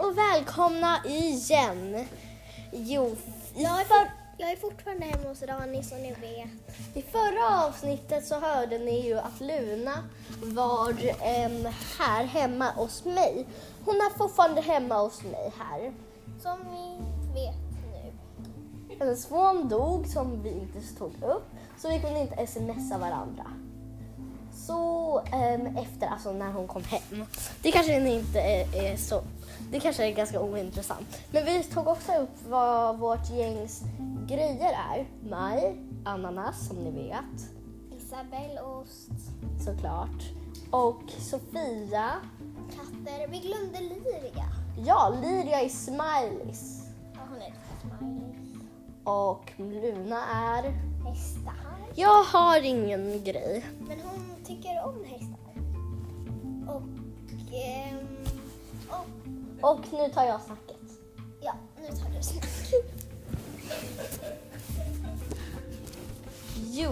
och välkomna igen. Jo, i, Jag är, för, jag är fortfarande hemma hos Rani som ni vet. i förra avsnittet så hörde ni ju att Luna var em, här hemma hos mig. Hon är fortfarande hemma hos mig här. Som vi vet nu. Hennes son Alltså, dog som vi inte tog upp så vi kunde inte smsa varandra. Så em, efter, alltså när hon kom hem. Det kanske ni inte är, är så, det kanske är ganska ointressant. Men vi tog också upp vad vårt gängs grejer är. Maj, ananas som ni vet Isabel, ost, såklart. Och Sofia, katter. Vi glömde Lyria. ja Lyria är smileys. Ja, hon är smiley. Och Luna är, Hästar. jag har ingen grej. Men hon tycker om hästar. Och... ehm, och Och nu tar jag snacket. ja, nu tar du snack. Jo,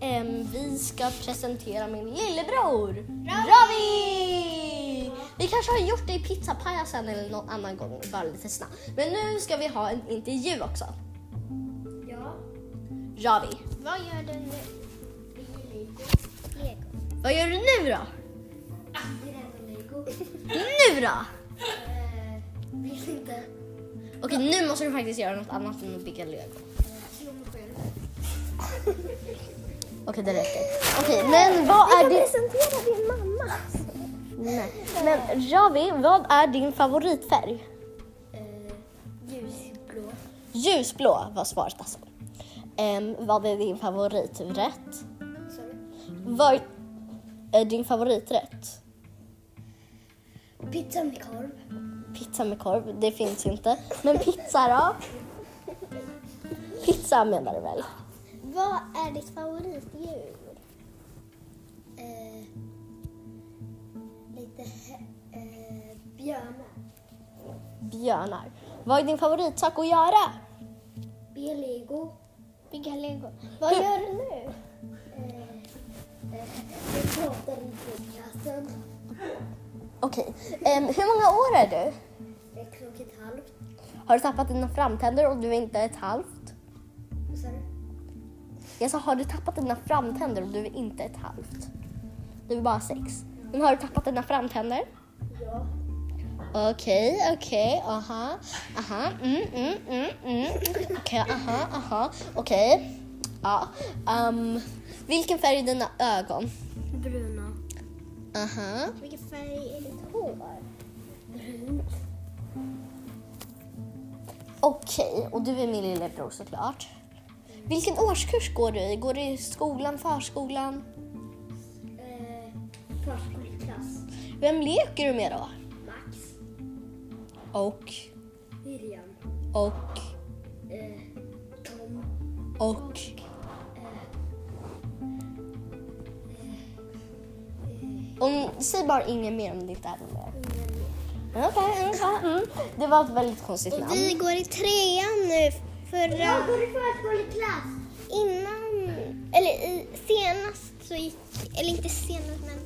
ehm, vi ska presentera min lillebror Ravi! Ravi! Vi kanske har gjort det i pizzapajasen eller någon annan gång, bara lite snabbt. Men nu ska vi ha en intervju också. Ja. Ravi, Vad gör du nu? Lego. Lego. vad gör du nu då? Grädde Lego. Eh, Nu då? Vill inte. Okej, nu måste du faktiskt göra något annat än att bygga lego. Okej, det räcker. Okej, men vad är din... presentera din mamma. Nej. Men Ravi, vad är din favoritfärg? Eh, ljusblå. Ljusblå var svaret alltså. Ehm, vad är din favoriträtt? Vad är din favoriträtt? Pizza med korv. Pizza med korv, det finns inte. Men pizza då? Pizza menar du väl? Vad är ditt favoritdjur? Eh, lite eh, björnar. Björnar. Vad är din favoritsak att göra? Bygga lego. Bygga lego. Vad Hur- gör du Eh, nu? Vi pratar inte i klassen. Okej, ehm, hur många år är du? Det är klockan ett halvt. Har du tappat dina framtänder och du är inte ett halvt? Vad sa du? Jag sa, har du tappat dina framtänder och du är inte ett halvt? Du är bara sex. Men har du tappat dina framtänder? Ja. Okej, okej, aha, aha, uh-huh, mm, mm, mm, mm. Okej, aha, aha, okej. Ja. ehm, vilken färg är dina ögon? Uh-huh, Bruna. Aha. Vilken färg är ditt hår? Brunt. Okej, och du är min lillebror såklart. Vilken årskurs går du i? Går du i skolan, förskolan? Eh, Förskoleklass. Vem leker du med då? Max. Och, Miriam. och, Eh, Tom. och. Och säg bara inget mer om ditt ämne. Okej, okej, mm. Det var ett väldigt konstigt namn. Vi går i trean nu. Förra... Jag går i förskoleklass. Innan, eller i, senast så gick, eller inte senast men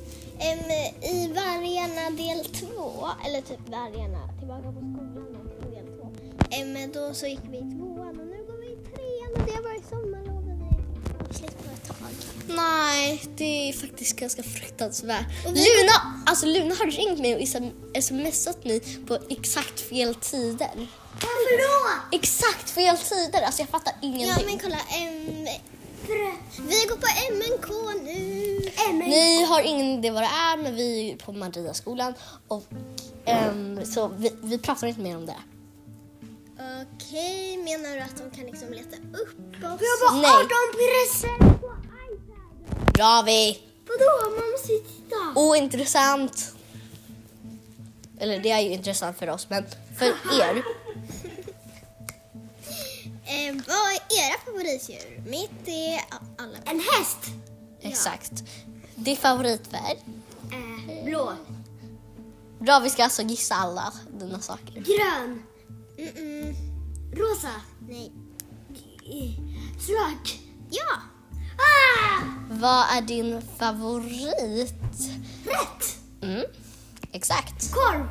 em, i Vargarna del två, eller typ Vargarna tillbaka på skolan och del två. Em, då så gick vi i tvåan och nu går vi i trean och det har varit sommarloven i slut på ett tag. Nej, det är faktiskt ganska fruktansvärt. Luna, alltså Luna har ringt mig och isam- smsat mig på exakt fel tider. Varför då? Exakt fel tider, alltså jag fattar ingenting. Ja men kolla, em, vi går på MNK nu. Ni har ingen idé vad det är, men vi är på Mariaskolan och ehm, så vi, vi pratar inte mer om det. Okej, menar du att de kan liksom leta upp oss? Vi har bara Nej. 18 present på iPaden! Ravi! Vadå? Man måste ju titta! Ointressant. Eller det är ju intressant för oss, men för er. Eh, vad är era favoritdjur? Mitt är a- alla. En häst! Exakt. Din favoritfärg? Eh, blå. Ravi ska alltså gissa alla dina saker. Grön. Mm-mm. Rosa. Nej. Svart. Ja! Ah! Vad är din favorit? Rätt! Mm, exakt. Korv.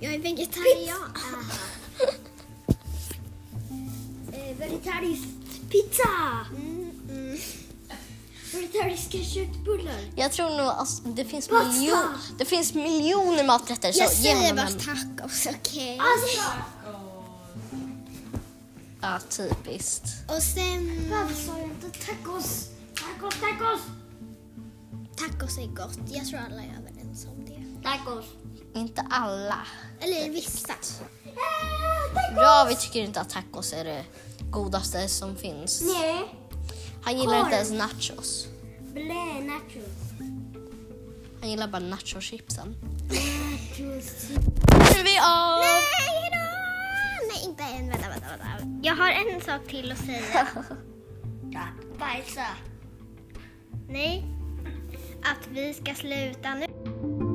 Jag är vegetarian. Eh, vegetariskt pizza! Mm, mm. Vegetariska köttbullar! Jag tror nog alltså, det, finns Pasta! miljon, det finns miljoner maträtter. Så Jag säger genom bara en- tacos, okej? Alltså, Ja, typiskt. Och sen... varför sa jag inte tacos? Tacos, tacos! Tacos är gott. Jag tror alla är överens om det. Tacos! Inte alla. Eller vissa. Ravi tycker inte att tacos är det godaste som finns. Nej. Han gillar Korv. inte ens nachos. Blä, nachos. Han gillar bara nachochipsen. Nachos. Nu är vi av! Nej, hejdå! Nej, inte än. Vänta, vänta, vänta. Jag har en sak till att säga. Bajsa. Nej. Att vi ska sluta nu.